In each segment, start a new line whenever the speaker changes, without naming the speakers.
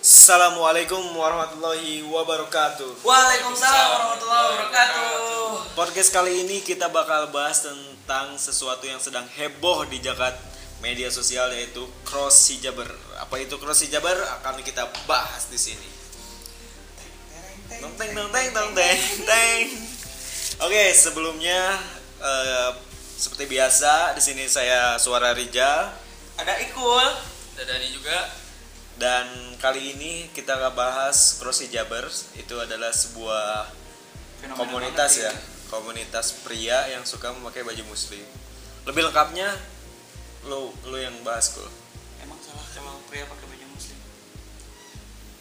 Assalamualaikum warahmatullahi wabarakatuh.
Waalaikumsalam warahmatullahi wabarakatuh.
Podcast kali ini kita bakal bahas tentang sesuatu yang sedang heboh di jagat media sosial yaitu cross hijaber. Apa itu cross hijaber? Akan kita bahas di sini. Teng teng teng teng teng teng. teng. Oke, sebelumnya eh, seperti biasa di sini saya Suara Rijal
Ada Ikul. Ada Dani juga.
dan kali ini kita akan bahas cross hijaber. Itu adalah sebuah komunitas ya komunitas pria yang suka memakai baju muslim lebih lengkapnya lu lu yang bahas kul
Emang salah emang pria pakai baju muslim.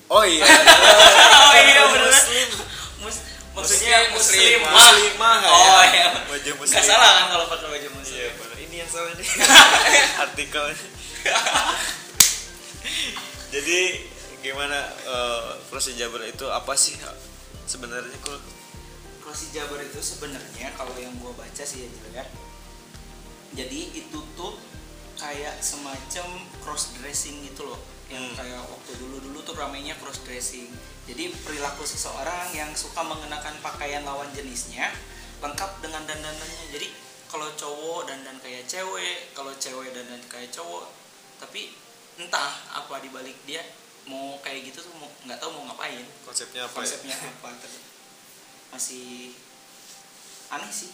oh iya
Oh iya bener.
muslim
Mus maksudnya
Muslim,
muslimah.
muslimah ya.
Oh iya.
baju muslim
Enggak salah kan kalau pakai baju
iya
muslim.
bener. ini yang salah nih artikel jadi gimana eh, cross hijaber itu apa sih sebenarnya kul
Kalau si Jabar itu sebenarnya kalau yang gua baca sih ya Jabar. Jadi itu tuh kayak semacam cross dressing gitu loh. Yang
Hmm.
kayak waktu dulu-dulu tuh ramainya cross dressing. Jadi perilaku seseorang yang suka mengenakan pakaian lawan jenisnya lengkap dengan dandanannya. Jadi kalau cowok dandan kayak cewek, kalau cewek dandan kayak cowok. Tapi entah apa dibalik dia mau kayak gitu tuh mau- nggak tahu mau ngapain
konsepnya apa ya?
konsepnya apa tapi masih aneh sih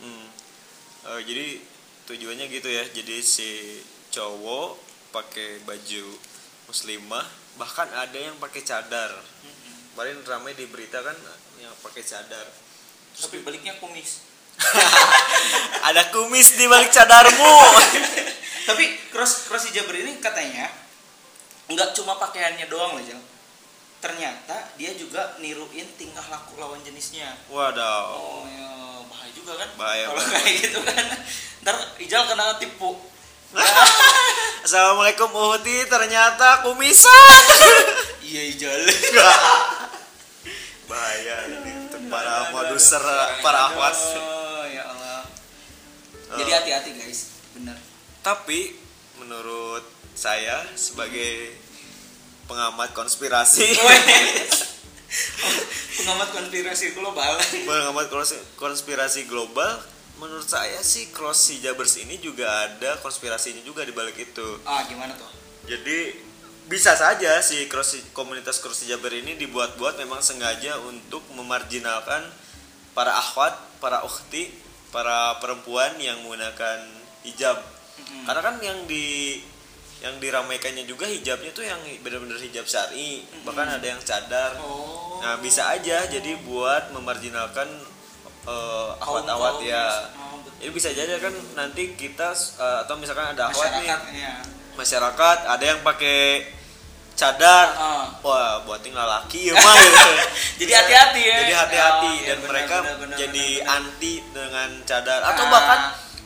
Hmm. Eh, jadi tujuannya gitu ya. Jadi si cowok pakai baju muslimah, bahkan ada yang pakai cadar. Kemarin ramai di berita kan yang pakai cadar.
tapi baliknya kumis
Ada kumis di balik cadarmu.
tapi cross cross hijaber ini katanya nggak cuma pakaiannya doang loh Jal. ternyata dia juga niruin tingkah laku lawan jenisnya
Waduh.
oh ya, bahaya juga kan
Bahaya,
kalau
bahaya.
kayak gitu kan ntar Ijal kena tipu
Assalamualaikum Uhuti, ternyata kumisan.
iya Ijal
Bahaya ini untuk para produser, para awas.
oh, ya Allah jadi
Eh.
hati-hati guys bener
Tapi menurut saya sebagai pengamat konspirasi,
Oh, pengamat konspirasi itu lo balik
pengamat kons- konspirasi global, menurut saya sih cross hijabers ini juga ada konspirasinya juga di balik itu.
ah gimana tuh
Jadi bisa saja si cross komunitas cross hijaber ini dibuat-buat memang sengaja untuk memarjinalkan para akhwat, para ukhti, para perempuan yang menggunakan hijab.
Mm-mm.
Karena kan yang di yang diramaikannya juga hijabnya tuh yang benar-benar hijab syari, bahkan ada yang cadar.
Oh.
Nah, bisa aja jadi buat memarjinalkan eh,
Kaum-
akhwat-akhwat
kaum
ya.
Oh, betul.
Jadi bisa jadi kan nanti kita eh, atau misalkan ada akhwat nih
masyarakat ya.
masyarakat ada yang pakai cadar.
Ah.
Wah, buating laki ya mah gitu.
Jadi hati-hati ya.
Jadi hati-hati
Oh, iya,
dan
benar,
mereka
benar, benar,
jadi
benar, benar.
anti dengan cadar atau
Ah.
bahkan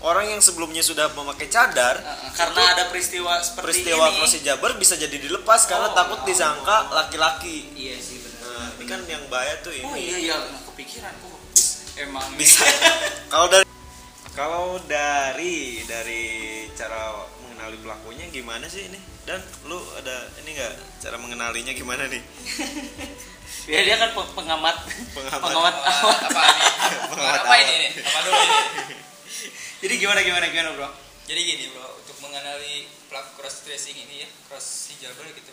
orang yang sebelumnya sudah memakai cadar
Uh, karena
itu-
ada peristiwa seperti
peristiwa
ini.
cross hijaber bisa jadi dilepas karena
Oh,
takut
ya
disangka laki-laki.
Iya sih benar.
Nah, ini kan yang bahaya tuh ini.
oh iya iya nggak kepikiran kok. Emang
Bisa. kalau dari kalau dari dari cara mengenali pelakunya gimana sih ini? Dan lu ada ini enggak cara mengenalinya gimana nih?
ya dia kan pe- pengamat
Pengamat.
awal.
Eh, apa ini?
Pengamat
apa ini
awal.
nih? Apa dulu ini?
Jadi gimana gimana gimana bro?
Jadi gini bro, untuk mengenali pelaku cross dressing ini ya, cross hijaber gitu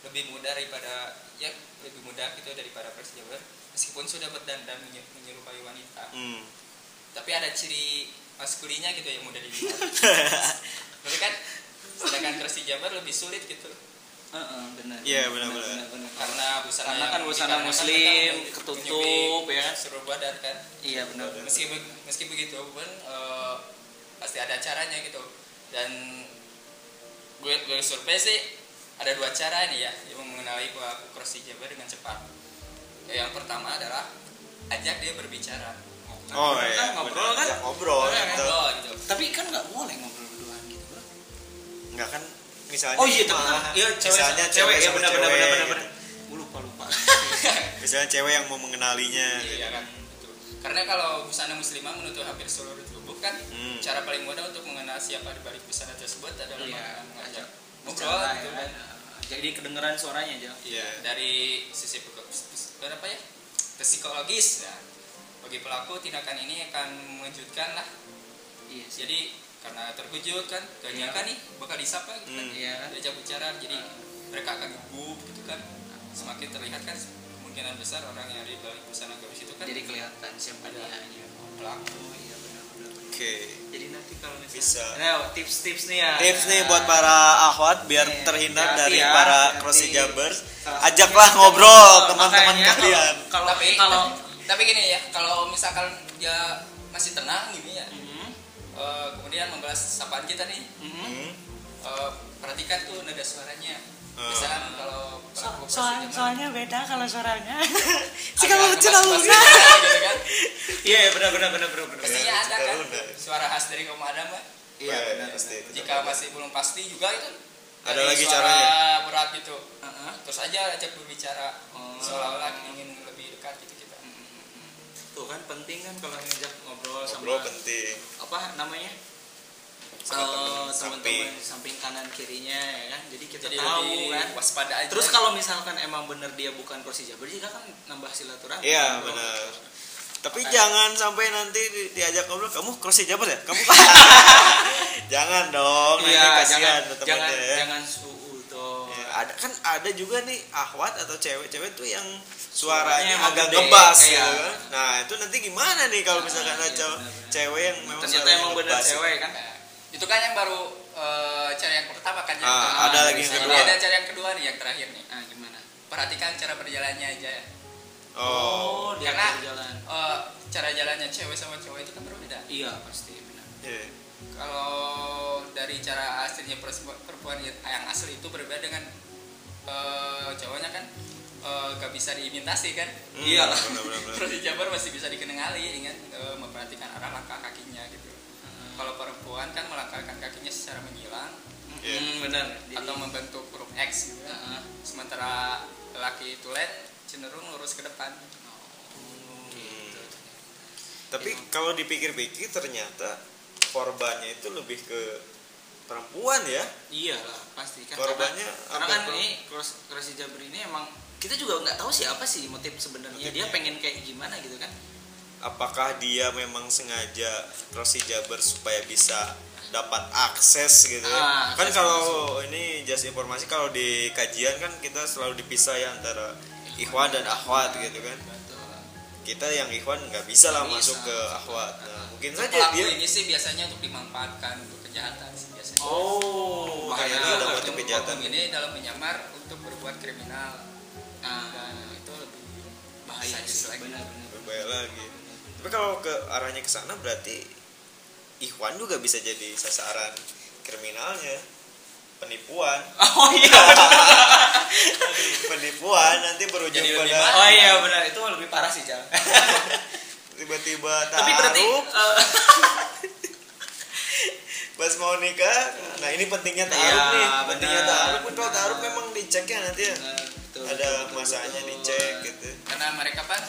lebih mudah daripada ya lebih mudah gitu daripada cross hijaber meskipun sudah berdandan menye- menyerupai wanita
Hmm.
tapi ada ciri maskulinya gitu yang mudah dilihat tapi kan sedangkan cross hijaber lebih sulit gitu
Heeh, Ah, benar.
Iya, benar, benar.
karena busana
Karena kan
yang
busana
dikarenakan
muslim,
mereka kan
ketutup,
menyupi
ya.
seluruh badan kan
Iya benar.
meski be- meski begitu pun eh, pasti ada caranya gitu dan gue gue survei sih ada dua cara nih ya yang mengenali pelaku cross hijaber dengan cepat Ya, yang pertama adalah ajak dia berbicara
Oh
Kan
iya.
ngobrol kan?
Ya, Ngobrol.
Ngobrol,
gitu.
ngobrol gitu
Tapi kan nggak boleh ngobrol berduaan gitu bro.
Enggak kan misalnya
Oh iya
sama-
tapi kan- iya cewek
misalnya
sama cewek, ya
sama
benar benar
cewek,
benar benar.
gitu.
benar. Gue lupa lupa.
Misalnya cewek yang mau mengenalinya. gitu.
Iya kan, betul. Karena kalau busana muslimah menutup hampir seluruh tubuh kan,
Hmm.
cara paling mudah untuk mengenal siapa di balik busana tersebut adalah
Iya,
dengan mengajak
ajak
ngobrol
bicara,
gitu
ya.
kan.
jadi kedengeran suaranya aja
Iya.
dari sisi pe- psik- berapa ya psikologis ya bagi pelaku tindakan ini akan mengejutkan lah
iya sih
jadi karena terkejut kan gak
Iya.
nyangka nih bakal disapa gitu kan
Hmm.
Iya kan?
diajak bicara jadi mereka akan gugup gitu kan semakin terlihat kan kemungkinan besar orang yang ada di balik busana gamis itu kan
jadi kelihatan siapa
Ada.
dia aja
pelaku
oh iya benar-benar
Oke.
jadi nanti kalau misalnya
Bisa.
nah tips-tips nih ya
Tips nih buat para ahwat biar
Iya,
terhindar
hati-hati
dari
ya,
para
hati-hati.
crossy jabbers.
Salah
Ajaklah
satunya
ngobrol
ngobrol,
teman-teman
Iya, makanya Iya,
kalian.
kalau- kalau
tapi
kalau
tapi gini ya kalau misalkan dia masih tenang gini ya
Mhm,
eh, kemudian membalas sapaan kita nih
mhm.
Hmm.
eh, perhatikan tuh nada suaranya
Eh.
misalkan kalau pelaku
So- soal-
prostitusi
soalnya beda kalau suaranya
ada kemas-kemasnya gitu kan
iya iya, benar benar benar benar benar
pastinya ada kan
Benar.
suara khas dari Om Adam kan
iya
Baik,
benar
pasti.
benar.
jika masih belum pasti juga itu
Ada
dari
lagi
suara
caranya.
berat gitu
Heeh.
terus aja ajak berbicara
Uh-huh. Oh. Hmm.
seolah-olah ingin lebih dekat gitu kita
tuh kan penting kan kalau ngajak ngobrol
Ngobrol kan.
sama
penting.
apa namanya
Sama
Eh,
temen
teman-teman samping kanan kirinya ya kan jadi kita
jadi
tahu
lebih
kan
waspada aja
terus kalau misalkan emang bener dia bukan Persija berarti kita kan nambah silaturahmi
Iya
Ngobrol.
benar. Tapi
Makanya.
jangan sampai nanti di- diajak ngobrol kamu crossy jabber ya? Kamu jangan dong, nanti
iya jangan
kasihan tuh
jangan
temannya ya.
jangan suudon
Ya, ada kan ada juga nih ahwat atau cewek-cewek tuh yang suaranya
Suaranya
agak
gede,
ngebas
iya.
gitu kan. Nah, itu nanti gimana nih kalau
Nah,
misalkan ada
iya,
cewek-
benar-benar.
cewek yang memang
ternyata
suaranya
emang bener
ngebas. gitu.
cewek kan
Nah, itu kan yang baru eh, cara yang pertama kan yang
Ah,
pertama.
ada lagi yang
Ini
kedua.
ada cara yang kedua nih yang terakhir nih
ah gimana
perhatikan cara berjalannya aja ya.
Oh.
oh dia
Karena-
jalan
Eh, cara jalannya cewek sama cowok itu kan berbeda
iya pasti benar
iya.
kalau dari cara aslinya perse- perempuan ya, yang asli itu berbeda dengan eh, cowoknya kan eh, gak bisa diimitasi kan
Hmm,
Iyalah.
benar, benar, benar.
terus di Jabar masih bisa dikenali dengan eh, memperhatikan arah langkah kakinya gitu kalau perempuan kan melangkahkan kakinya secara menyilang
Iya.
Hmm, benar
atau membentuk huruf X gitu kan.
Heeh.
sementara laki itu tulen cenderung lurus ke depan
Oh,
Hmm.
gitu.
Tapi kalau dipikir-pikir ternyata korbannya itu lebih ke perempuan ya.
iya lah pasti kan
Korbannya
karena, karena
apa
kan
tuh?
ini cross cross jabber ini emang kita juga nggak tahu sih apa sih motif sebenarnya dia
Motifnya.
pengen kayak gimana gitu kan
Apakah dia memang sengaja cross hijaber supaya bisa dapat akses gitu ya?
Ah,
kan
akses
kalau ini just informasi kalau di kajian kan kita selalu dipisah ya antara ikhwan dan akhwat gitu kan. Kita yang ikhwan nggak bisa lah
Nggak
masuk
bisa.
ke akhwat. Nah, mungkin
Untuk
saja
pelaku
dia
ini sih biasanya untuk dimanfaatkan untuk kejahatan sih biasanya
oh
makanya dia
bahaya lah.
dapat
Oknum-oknum
kejahatan.
Iya, ini dalam menyamar untuk berbuat kriminal dan itu lebih
bahaya
sadis
sih
lagi.
benar benar
berbahaya lagi. Tapi kalau ke arahnya ke sana berarti ikhwan juga bisa jadi sasaran kriminalnya. Penipuan.
oh iya
penipuan nanti berujung
Jadi lebih
pada
mahal.
oh iya benar itu lebih parah sih Jal
tiba-tiba
tapi berarti
taruh
eh,
pas mau nikah nah ini pentingnya taruh
Iya,
nih pentingnya
benar,
taruh pun kalau
benar.
taruh memang diceknya nanti ya
benar, betul,
ada
betul, betul,
masanya
betul.
dicek gitu
karena mereka kan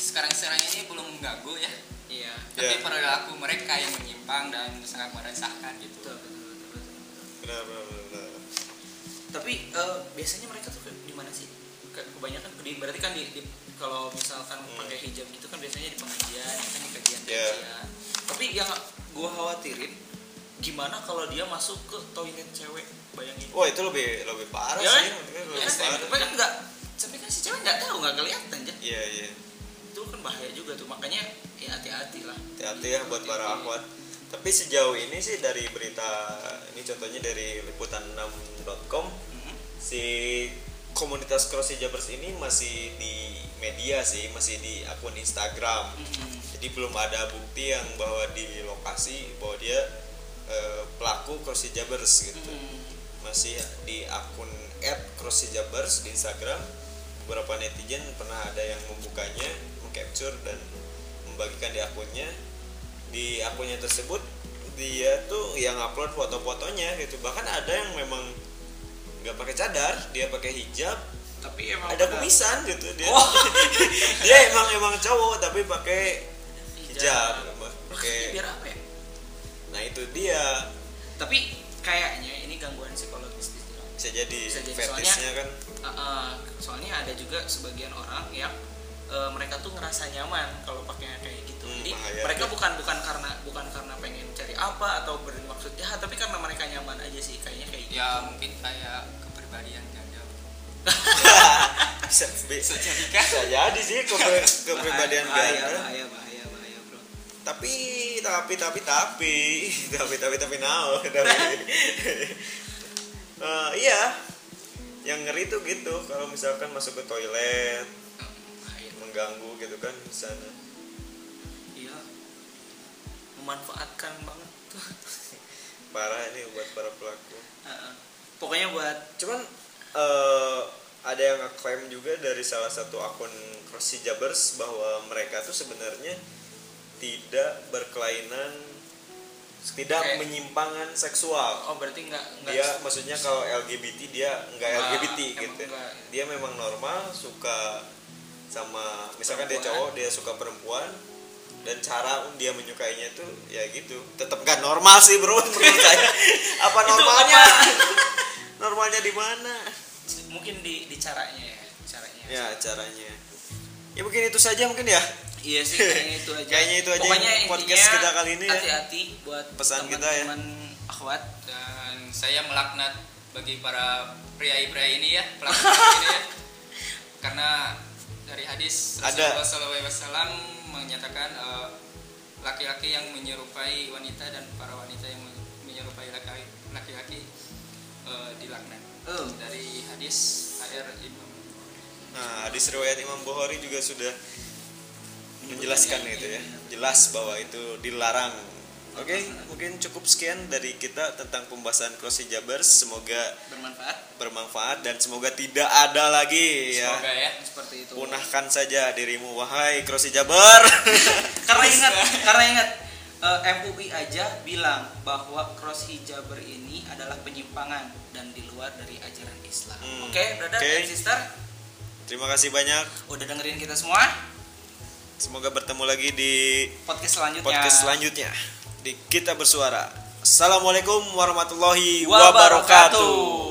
sekarang-sekarang ini belum mengganggu ya
iya
tapi
Ya.
perilaku mereka yang menyimpang dan sangat meresahkan gitu
betul, betul, betul, betul.
benar benar benar
tapi eh, biasanya mereka tuh ke- di mana sih Ke- kebanyakan di, berarti kan di, di- kalau misalkan
Hmm.
pakai hijab gitu kan biasanya di pengajian ya kan di kajian
Iya.
kajian tapi yang gua khawatirin gimana kalau dia masuk ke toilet cewek bayangin
wah itu lebih lebih parah
Ya kan?
sih mungkin
ya
lebih
kan
parah
tapi kan nggak tapi kan si cewek nggak tahu nggak kelihatan ya
iya iya
itu kan bahaya juga tuh makanya ya hati-hati lah
hati-hati ya buat para akhwat tapi sejauh ini sih dari berita ini contohnya dari liputan6.com
Mhm.
si komunitas cross hijabers ini masih di media sih masih di akun Instagram
Mhm.
jadi belum ada bukti yang bahwa di lokasi bahwa dia eh, pelaku cross hijabers gitu
Hmm.
masih di akun @crosshijabers di Instagram beberapa netizen pernah ada yang membukanya mengcapture dan membagikan di akunnya di akunnya tersebut dia tuh yang upload foto-fotonya gitu bahkan ada yang memang nggak pakai cadar dia pakai hijab
tapi emang
ada
Oh, benar.
kumisan gitu dia
Oh.
dia emang emang cowok tapi pakai hijab
Maksudnya
pakai
biar apa ya
nah itu dia
tapi kayaknya ini gangguan psikologis di
bisa jadi,
Bisa jadi,
fetishnya kan
Uh, uh, soalnya ada juga sebagian orang yang uh, mereka tuh ngerasa nyaman kalau pakainya kayak gitu.
Hmm,
Jadi
bahaya
mereka
tuh.
bukan bukan karena bukan karena pengen cari apa atau bermaksud jahat, tapi karena mereka nyaman aja sih kayaknya kayak gitu.
ya mungkin kayak kepribadian ganda
bisa bisa,
bisa jadi kan Nah,
bisa jadi sih keper- Ya, kepribadian
bahaya,
ganda
Bahaya bahaya bahaya bro.
tapi tapi tapi tapi tapi tapi tapi now tapi Eh, iya yang ngeri tuh gitu kalau misalkan masuk ke toilet
Bahaya.
mengganggu gitu kan di sana
Iya. Memanfaatkan banget tuh.
parah ini buat para pelaku
Uh, uh. Pokoknya buat
cuman eh, ada yang ngeklaim juga dari salah satu akun cross hijabers bahwa mereka tuh sebenarnya tidak berkelainan tidak
Kayak-
menyimpangan seksual
oh berarti nggak nggak
dia maksudnya kalau LGBT dia nggak
Nggak,
LGBT
emang
gitu
nggak.
dia memang normal suka sama misalkan dia
Perempuan.
cowok dia suka perempuan dan cara dia menyukainya tuh ya gitu tetap nggak normal sih bro menurut saya apa
Itu
normalnya
apa?
normalnya di mana
mungkin di di caranya ya, caranya.
ya caranya ya mungkin itu saja mungkin ya
Iya sih kayaknya itu aja.
Kayaknya itu aja
Pokoknya
yang podcast
intinya,
kita kali ini ya.
Hati-hati buat
Pesan kita ya.
teman-teman akhwat.
dan saya melaknat bagi para pria-pria ini ya pelaku ini ya karena dari hadis
Ada.
Rasulullah SAW menyatakan eh, laki-laki yang menyerupai wanita dan para wanita yang menyerupai laki- laki-laki eh, dilaknat
Oh.
dari hadis HR Ibnu
nah di riwayat Imam Bukhari juga sudah menjelaskan
Menyebutkan
itu
yang
ya jelas bahwa itu dilarang oke mungkin cukup sekian dari kita tentang pembahasan cross hijabers semoga
Bermanfaat
bermanfaat dan semoga tidak ada lagi ya
semoga ya
seperti itu.
punahkan saja dirimu wahai cross hijaber
Karena ingat, karena ingat eh, MUI aja bilang bahwa cross hijaber ini adalah penyimpangan dan di luar dari ajaran Islam.
Hmm.
Oke, brother
Oke.
dan sister,
terima kasih banyak
udah dengerin kita semua
semoga bertemu lagi di
podcast selanjutnya.
podcast selanjutnya di kita bersuara assalamualaikum warahmatullahi wabarakatuh
Wabarakatuh.